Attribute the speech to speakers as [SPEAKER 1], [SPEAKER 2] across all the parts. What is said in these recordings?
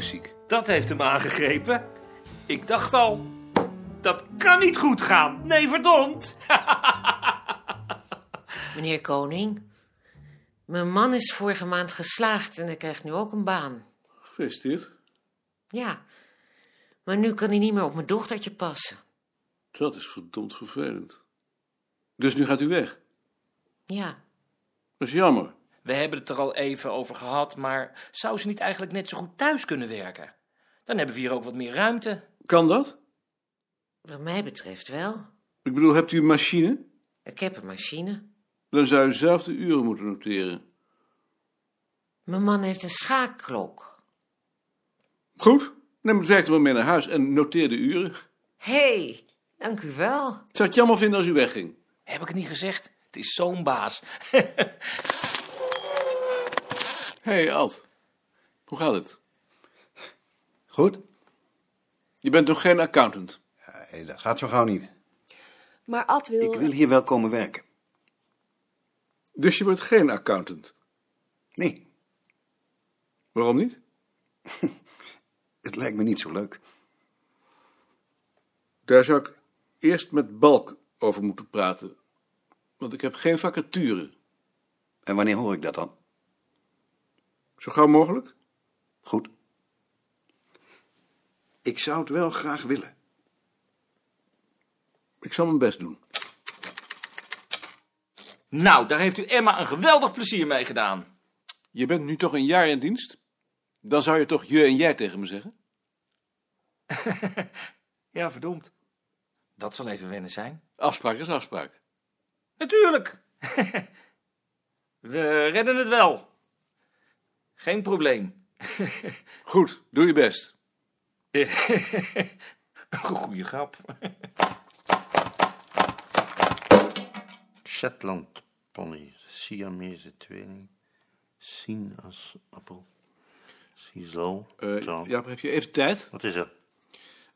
[SPEAKER 1] ziek.
[SPEAKER 2] Dat heeft hem aangegrepen. Ik dacht al, dat kan niet goed gaan. Nee, verdomd.
[SPEAKER 3] Meneer Koning, mijn man is vorige maand geslaagd en hij krijgt nu ook een baan.
[SPEAKER 1] Gefeliciteerd.
[SPEAKER 3] Ja, maar nu kan hij niet meer op mijn dochtertje passen.
[SPEAKER 1] Dat is verdomd vervelend. Dus nu gaat u weg.
[SPEAKER 3] Ja,
[SPEAKER 1] Dat is jammer.
[SPEAKER 2] We hebben het er al even over gehad, maar zou ze niet eigenlijk net zo goed thuis kunnen werken? Dan hebben we hier ook wat meer ruimte.
[SPEAKER 1] Kan dat?
[SPEAKER 3] wat mij betreft wel.
[SPEAKER 1] Ik bedoel, hebt u een machine?
[SPEAKER 3] Ik heb een machine.
[SPEAKER 1] Dan zou u zelf de uren moeten noteren.
[SPEAKER 3] Mijn man heeft een schaakklok.
[SPEAKER 1] Goed, neem het werk dan maar mee naar huis en noteer de uren.
[SPEAKER 3] Hé, hey, dank u wel.
[SPEAKER 1] Ik zou het jammer vinden als u wegging.
[SPEAKER 2] Heb ik het niet gezegd? Het is zo'n baas.
[SPEAKER 1] Hé, hey, Ad. Hoe gaat het?
[SPEAKER 4] Goed?
[SPEAKER 1] Je bent toch geen accountant?
[SPEAKER 4] Nee, dat gaat zo gauw niet.
[SPEAKER 5] Maar Ad wil...
[SPEAKER 4] Ik wil hier wel komen werken.
[SPEAKER 1] Dus je wordt geen accountant?
[SPEAKER 4] Nee,
[SPEAKER 1] Waarom niet?
[SPEAKER 4] het lijkt me niet zo leuk.
[SPEAKER 1] Daar zou ik eerst met Balk over moeten praten. Want ik heb geen vacature.
[SPEAKER 4] En wanneer hoor ik dat dan?
[SPEAKER 1] Zo gauw mogelijk?
[SPEAKER 4] Goed. Ik zou het wel graag willen.
[SPEAKER 1] Ik zal mijn best doen.
[SPEAKER 2] Nou, daar heeft u Emma een geweldig plezier mee gedaan.
[SPEAKER 1] Je bent nu toch een jaar in dienst? Dan zou je toch je en jij tegen me zeggen?
[SPEAKER 2] Ja, verdomd. Dat zal even wennen zijn.
[SPEAKER 1] Afspraak is afspraak.
[SPEAKER 2] Natuurlijk. we redden het wel. Geen probleem.
[SPEAKER 1] Goed, doe je best.
[SPEAKER 2] Goeie grap.
[SPEAKER 6] Shetland pony, Siamese tweeling, sinaasappel, sisal,
[SPEAKER 1] Eh
[SPEAKER 6] taal.
[SPEAKER 1] Jaap, heb je even tijd?
[SPEAKER 6] Wat is er?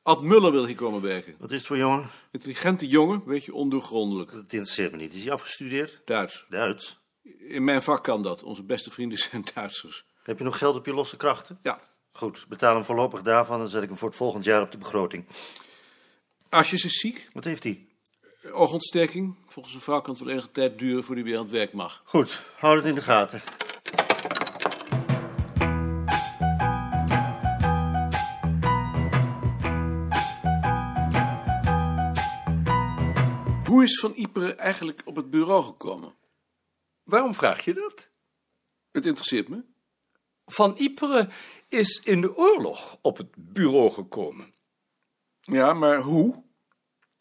[SPEAKER 1] Ad Muller wil hier komen werken.
[SPEAKER 6] Wat is het voor jongen?
[SPEAKER 1] Intelligente jongen, weet je, ondoorgrondelijk.
[SPEAKER 6] Dat interesseert me niet. Is hij afgestudeerd?
[SPEAKER 1] Duits.
[SPEAKER 6] Duits.
[SPEAKER 1] In mijn vak kan dat. Onze beste vrienden zijn Duitsers.
[SPEAKER 6] Heb je nog geld op je losse krachten?
[SPEAKER 1] Ja,
[SPEAKER 6] Goed, betaal hem voorlopig daarvan en zet ik hem voor het volgend jaar op de begroting.
[SPEAKER 1] Asjes is ziek.
[SPEAKER 6] Wat heeft hij?
[SPEAKER 1] Oogontsteking. Volgens een vrouw kan het wel enige tijd duren voordat hij weer aan het werk mag.
[SPEAKER 6] Goed, houd het in de gaten.
[SPEAKER 1] Hoe is Van Ieperen eigenlijk op het bureau gekomen?
[SPEAKER 7] Waarom vraag je dat?
[SPEAKER 1] Het interesseert me.
[SPEAKER 7] Van Ypres is in de oorlog op het bureau gekomen.
[SPEAKER 1] Ja, maar hoe?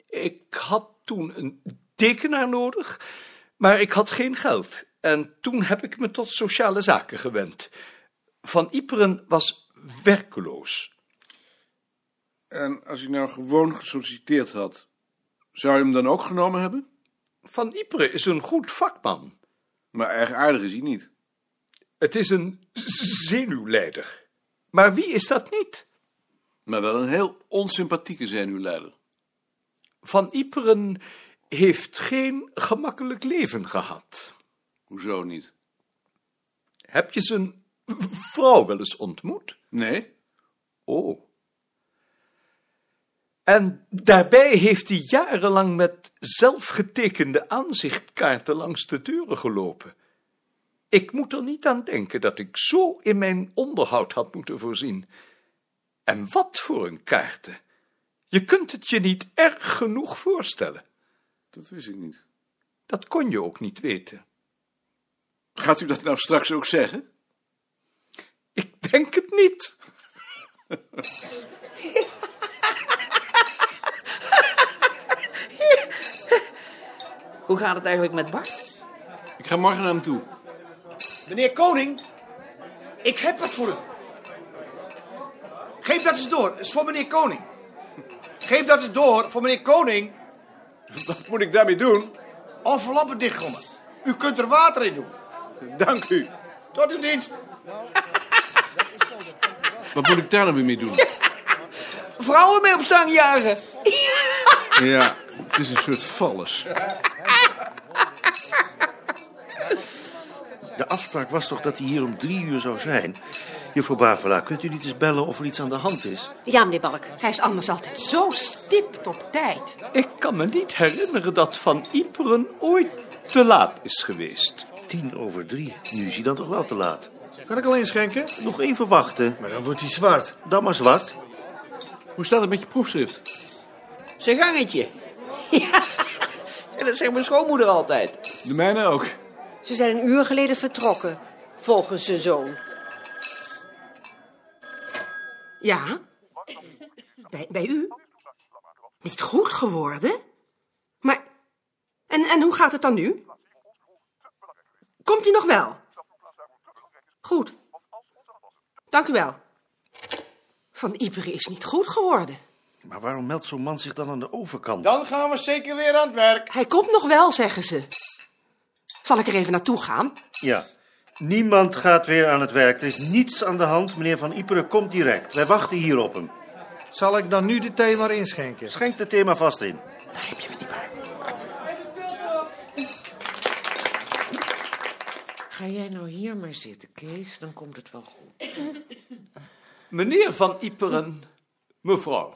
[SPEAKER 7] Ik had toen een tekenaar nodig, maar ik had geen geld. En toen heb ik me tot sociale zaken gewend. Van Ypres was werkeloos.
[SPEAKER 1] En als hij nou gewoon gesolliciteerd had, zou je hem dan ook genomen hebben?
[SPEAKER 7] Van Ypres is een goed vakman.
[SPEAKER 1] Maar erg aardig is hij niet.
[SPEAKER 7] Het is een z- zenuwleider. Maar wie is dat niet?
[SPEAKER 1] Maar wel een heel onsympathieke zenuwleider.
[SPEAKER 7] Van Ypres heeft geen gemakkelijk leven gehad.
[SPEAKER 1] Hoezo niet?
[SPEAKER 7] Heb je zijn vrouw wel eens ontmoet?
[SPEAKER 1] Nee?
[SPEAKER 7] Oh. En daarbij heeft hij jarenlang met zelfgetekende aanzichtkaarten langs de deuren gelopen. Ik moet er niet aan denken dat ik zo in mijn onderhoud had moeten voorzien. En wat voor een kaarten! Je kunt het je niet erg genoeg voorstellen.
[SPEAKER 1] Dat wist ik niet.
[SPEAKER 7] Dat kon je ook niet weten.
[SPEAKER 1] Gaat u dat nou straks ook zeggen?
[SPEAKER 7] Ik denk het niet.
[SPEAKER 8] Hoe gaat het eigenlijk met Bart?
[SPEAKER 1] Ik ga morgen naar hem toe.
[SPEAKER 9] Meneer Koning, ik heb wat voor u. Geef dat eens door, is voor meneer Koning. Geef dat eens door voor meneer Koning.
[SPEAKER 1] Wat moet ik daarmee doen?
[SPEAKER 9] Enveloppen dichtkomen. U kunt er water in doen.
[SPEAKER 1] Dank u.
[SPEAKER 9] Tot uw dienst.
[SPEAKER 1] Wat moet ik daar nou weer mee doen?
[SPEAKER 8] Vrouwen mee op stang jagen.
[SPEAKER 1] Ja, het is een soort valles.
[SPEAKER 6] De afspraak was toch dat hij hier om drie uur zou zijn? Juffrouw Bavela, kunt u niet eens bellen of er iets aan de hand is?
[SPEAKER 5] Ja, meneer Balk.
[SPEAKER 8] Hij is anders altijd zo stipt op tijd.
[SPEAKER 7] Ik kan me niet herinneren dat Van Iperen ooit te laat is geweest.
[SPEAKER 6] Tien over drie. Nu is hij dan toch wel te laat.
[SPEAKER 9] Kan ik alleen schenken?
[SPEAKER 6] Nog even wachten.
[SPEAKER 9] Maar dan wordt hij zwart.
[SPEAKER 6] Dan maar zwart.
[SPEAKER 1] Hoe staat het met je proefschrift?
[SPEAKER 8] Zijn gangetje. Ja, dat zegt mijn schoonmoeder altijd.
[SPEAKER 1] De mijne ook.
[SPEAKER 5] Ze zijn een uur geleden vertrokken, volgens zijn zoon.
[SPEAKER 10] Ja? Bij, bij u? Niet goed geworden? Maar. En, en hoe gaat het dan nu? Komt hij nog wel? Goed. Dank u wel. Van Iperen is niet goed geworden.
[SPEAKER 6] Maar waarom meldt zo'n man zich dan aan de overkant?
[SPEAKER 9] Dan gaan we zeker weer aan het werk.
[SPEAKER 10] Hij komt nog wel, zeggen ze. Zal ik er even naartoe gaan?
[SPEAKER 6] Ja. Niemand gaat weer aan het werk. Er is niets aan de hand. Meneer Van Iperen komt direct. Wij wachten hier op hem.
[SPEAKER 9] Zal ik dan nu de thee maar inschenken?
[SPEAKER 6] Schenk het thema vast in.
[SPEAKER 3] Ga jij nou hier maar zitten, Kees, dan komt het wel goed.
[SPEAKER 7] Meneer Van Iperen, mevrouw.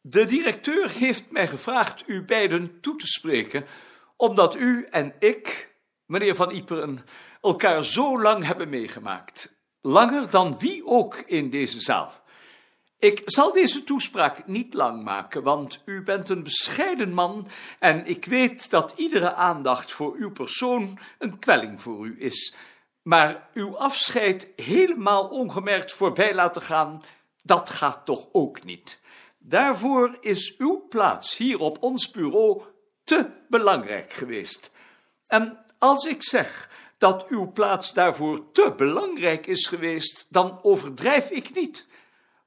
[SPEAKER 7] De directeur heeft mij gevraagd u beiden toe te spreken, omdat u en ik, meneer Van Iperen, elkaar zo lang hebben meegemaakt. Langer dan wie ook in deze zaal. Ik zal deze toespraak niet lang maken, want u bent een bescheiden man en ik weet dat iedere aandacht voor uw persoon een kwelling voor u is. Maar uw afscheid helemaal ongemerkt voorbij laten gaan, dat gaat toch ook niet. Daarvoor is uw plaats hier op ons bureau te belangrijk geweest. En als ik zeg dat uw plaats daarvoor te belangrijk is geweest, dan overdrijf ik niet.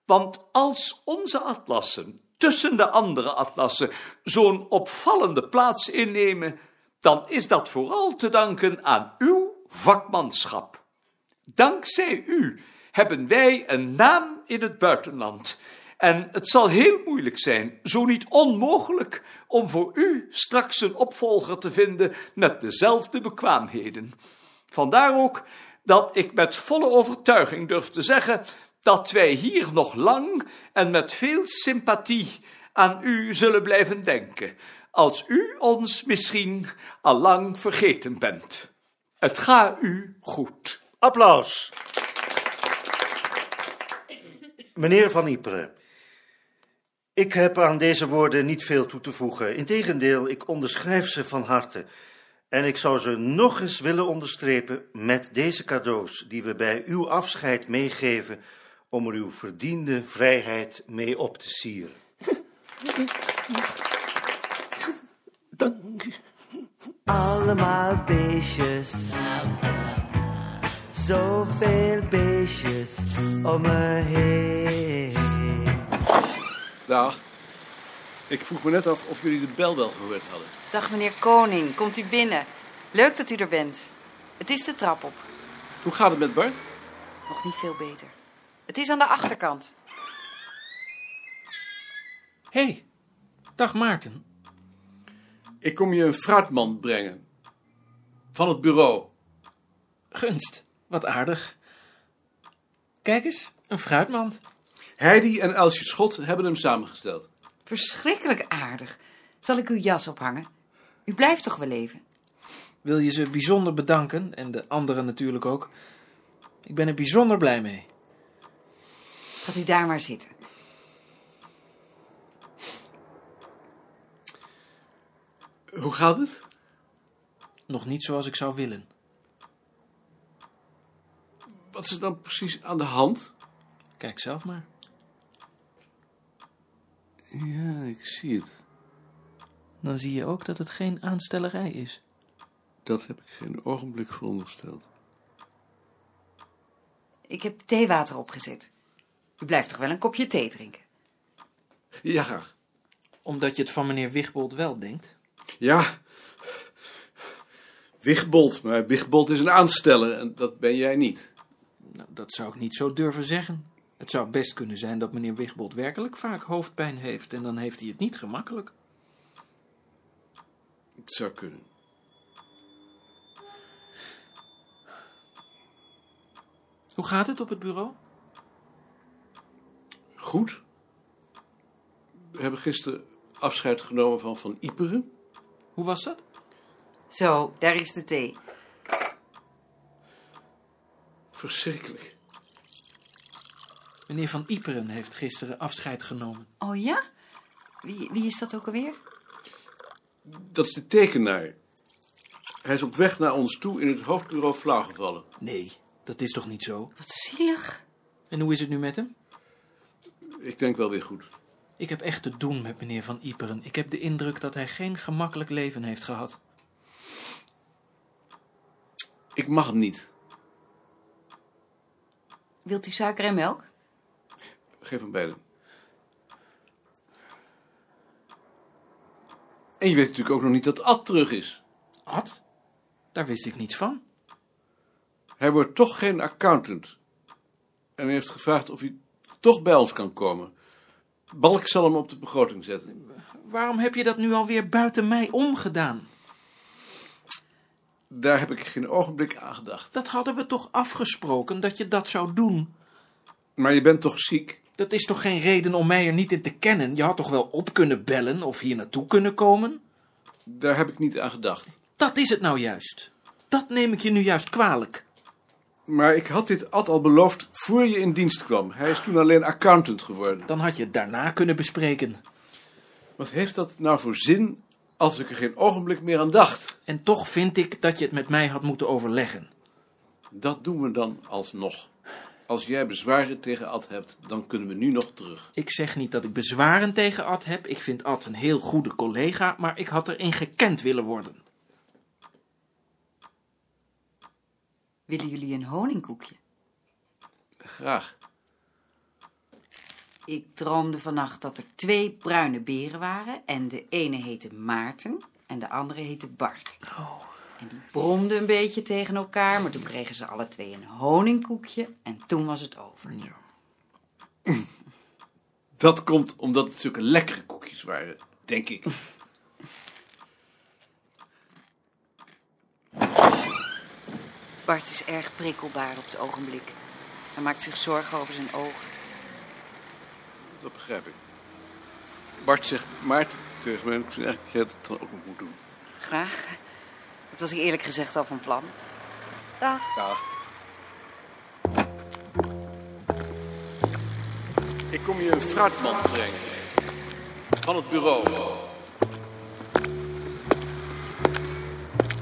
[SPEAKER 7] Want als onze atlassen tussen de andere atlassen zo'n opvallende plaats innemen, dan is dat vooral te danken aan uw vakmanschap. Dankzij u hebben wij een naam in het buitenland. En het zal heel moeilijk zijn, zo niet onmogelijk, om voor u straks een opvolger te vinden met dezelfde bekwaamheden. Vandaar ook dat ik met volle overtuiging durf te zeggen dat wij hier nog lang en met veel sympathie aan u zullen blijven denken, als u ons misschien al lang vergeten bent. Het ga u goed.
[SPEAKER 6] Applaus. Meneer Van Iperen, ik heb aan deze woorden niet veel toe te voegen. Integendeel, ik onderschrijf ze van harte. En ik zou ze nog eens willen onderstrepen met deze cadeaus die we bij uw afscheid meegeven om er uw verdiende vrijheid mee op te sieren.
[SPEAKER 11] Allemaal beestjes. Zoveel beestjes om me heen.
[SPEAKER 1] Dag. Ik vroeg me net af of jullie de bel wel gehoord hadden.
[SPEAKER 12] Dag meneer Koning, komt u binnen. Leuk dat u er bent. Het is de trap op.
[SPEAKER 1] Hoe gaat het met Bart?
[SPEAKER 12] Nog niet veel beter. Het is aan de achterkant.
[SPEAKER 2] hey, dag Maarten.
[SPEAKER 1] Ik kom je een fruitmand brengen. Van het bureau.
[SPEAKER 2] Gunst, wat aardig. Kijk eens, een fruitmand.
[SPEAKER 1] Heidi en Elsje Schot hebben hem samengesteld.
[SPEAKER 12] Verschrikkelijk aardig. Zal ik uw jas ophangen? U blijft toch wel even?
[SPEAKER 13] wil je ze bijzonder bedanken en de anderen natuurlijk ook. Ik ben er bijzonder blij mee.
[SPEAKER 12] Gaat u daar maar zitten.
[SPEAKER 1] Hoe gaat het?
[SPEAKER 13] Nog niet zoals ik zou willen.
[SPEAKER 1] Wat is er dan precies aan de hand?
[SPEAKER 13] Kijk zelf maar.
[SPEAKER 1] Ja, ik zie het.
[SPEAKER 13] Dan zie je ook dat het geen aanstellerij is.
[SPEAKER 1] Dat heb ik geen ogenblik verondersteld.
[SPEAKER 12] Ik heb theewater opgezet. U blijft toch wel een kopje thee drinken?
[SPEAKER 1] Ja, graag.
[SPEAKER 13] Omdat je het van meneer Wigbold wel denkt.
[SPEAKER 1] Ja. Wigbold, maar Wigbold is een aansteller en dat ben jij niet.
[SPEAKER 13] Nou, dat zou ik niet zo durven zeggen. Het zou best kunnen zijn dat meneer Wigbold werkelijk vaak hoofdpijn heeft en dan heeft hij het niet gemakkelijk.
[SPEAKER 1] Het zou kunnen.
[SPEAKER 13] Hoe gaat het op het bureau?
[SPEAKER 1] Goed. We hebben gisteren afscheid genomen van Van Iperen.
[SPEAKER 13] Hoe was dat?
[SPEAKER 12] Zo, daar is de thee.
[SPEAKER 1] Verschrikkelijk.
[SPEAKER 13] Meneer Van Iperen heeft gisteren afscheid genomen.
[SPEAKER 12] Oh ja? Wie, wie is dat ook alweer?
[SPEAKER 1] Dat is de tekenaar. Hij is op weg naar ons toe in het hoofdbureau flauwgevallen.
[SPEAKER 13] Nee, dat is toch niet zo?
[SPEAKER 12] Wat zielig.
[SPEAKER 13] En hoe is het nu met hem?
[SPEAKER 1] Ik denk wel weer goed.
[SPEAKER 13] Ik heb echt te doen met meneer Van Iperen. Ik heb de indruk dat hij geen gemakkelijk leven heeft gehad.
[SPEAKER 1] Ik mag hem niet.
[SPEAKER 12] Wilt u suiker en melk?
[SPEAKER 1] Geef hem beide. En je weet natuurlijk ook nog niet dat Ad terug is.
[SPEAKER 13] Ad? Daar wist ik niets van.
[SPEAKER 1] Hij wordt toch geen accountant. En hij heeft gevraagd of hij toch bij ons kan komen. Balk zal hem op de begroting zetten.
[SPEAKER 13] Waarom heb je dat nu alweer buiten mij omgedaan?
[SPEAKER 1] Daar heb ik geen ogenblik aan gedacht.
[SPEAKER 13] Dat hadden we toch afgesproken dat je dat zou doen?
[SPEAKER 1] Maar je bent toch ziek?
[SPEAKER 13] Dat is toch geen reden om mij er niet in te kennen? Je had toch wel op kunnen bellen of hier naartoe kunnen komen?
[SPEAKER 1] Daar heb ik niet aan gedacht.
[SPEAKER 13] Dat is het nou juist. Dat neem ik je nu juist kwalijk.
[SPEAKER 1] Maar ik had dit Ad al beloofd voor je in dienst kwam. Hij is toen alleen accountant geworden.
[SPEAKER 13] Dan had je het daarna kunnen bespreken.
[SPEAKER 1] Wat heeft dat nou voor zin als ik er geen ogenblik meer aan dacht?
[SPEAKER 13] En toch vind ik dat je het met mij had moeten overleggen.
[SPEAKER 1] Dat doen we dan alsnog. Als jij bezwaren tegen Ad hebt, dan kunnen we nu nog terug.
[SPEAKER 13] Ik zeg niet dat ik bezwaren tegen Ad heb. Ik vind Ad een heel goede collega, maar ik had erin gekend willen worden.
[SPEAKER 12] Willen jullie een honingkoekje?
[SPEAKER 1] Graag.
[SPEAKER 12] Ik droomde vannacht dat er twee bruine beren waren. En de ene heette Maarten en de andere heette Bart.
[SPEAKER 13] Oh.
[SPEAKER 12] En die bromden een beetje tegen elkaar, maar toen kregen ze alle twee een honingkoekje. En toen was het over.
[SPEAKER 1] Dat komt omdat het zulke lekkere koekjes waren, denk ik.
[SPEAKER 12] Bart is erg prikkelbaar op het ogenblik. Hij maakt zich zorgen over zijn ogen.
[SPEAKER 1] Dat begrijp ik. Bart zegt Maarten tegen mij. en Ik vind eigenlijk dat jij dat dan ook nog moet doen.
[SPEAKER 12] Graag. Dat was ik eerlijk gezegd al van plan. Dag.
[SPEAKER 1] Dag. Ik kom je een fruitmand brengen. Van het bureau.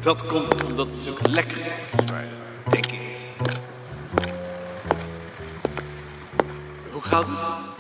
[SPEAKER 1] Dat komt omdat het zulke lekkere koekjes waren, denk ik. Hoe gaat het?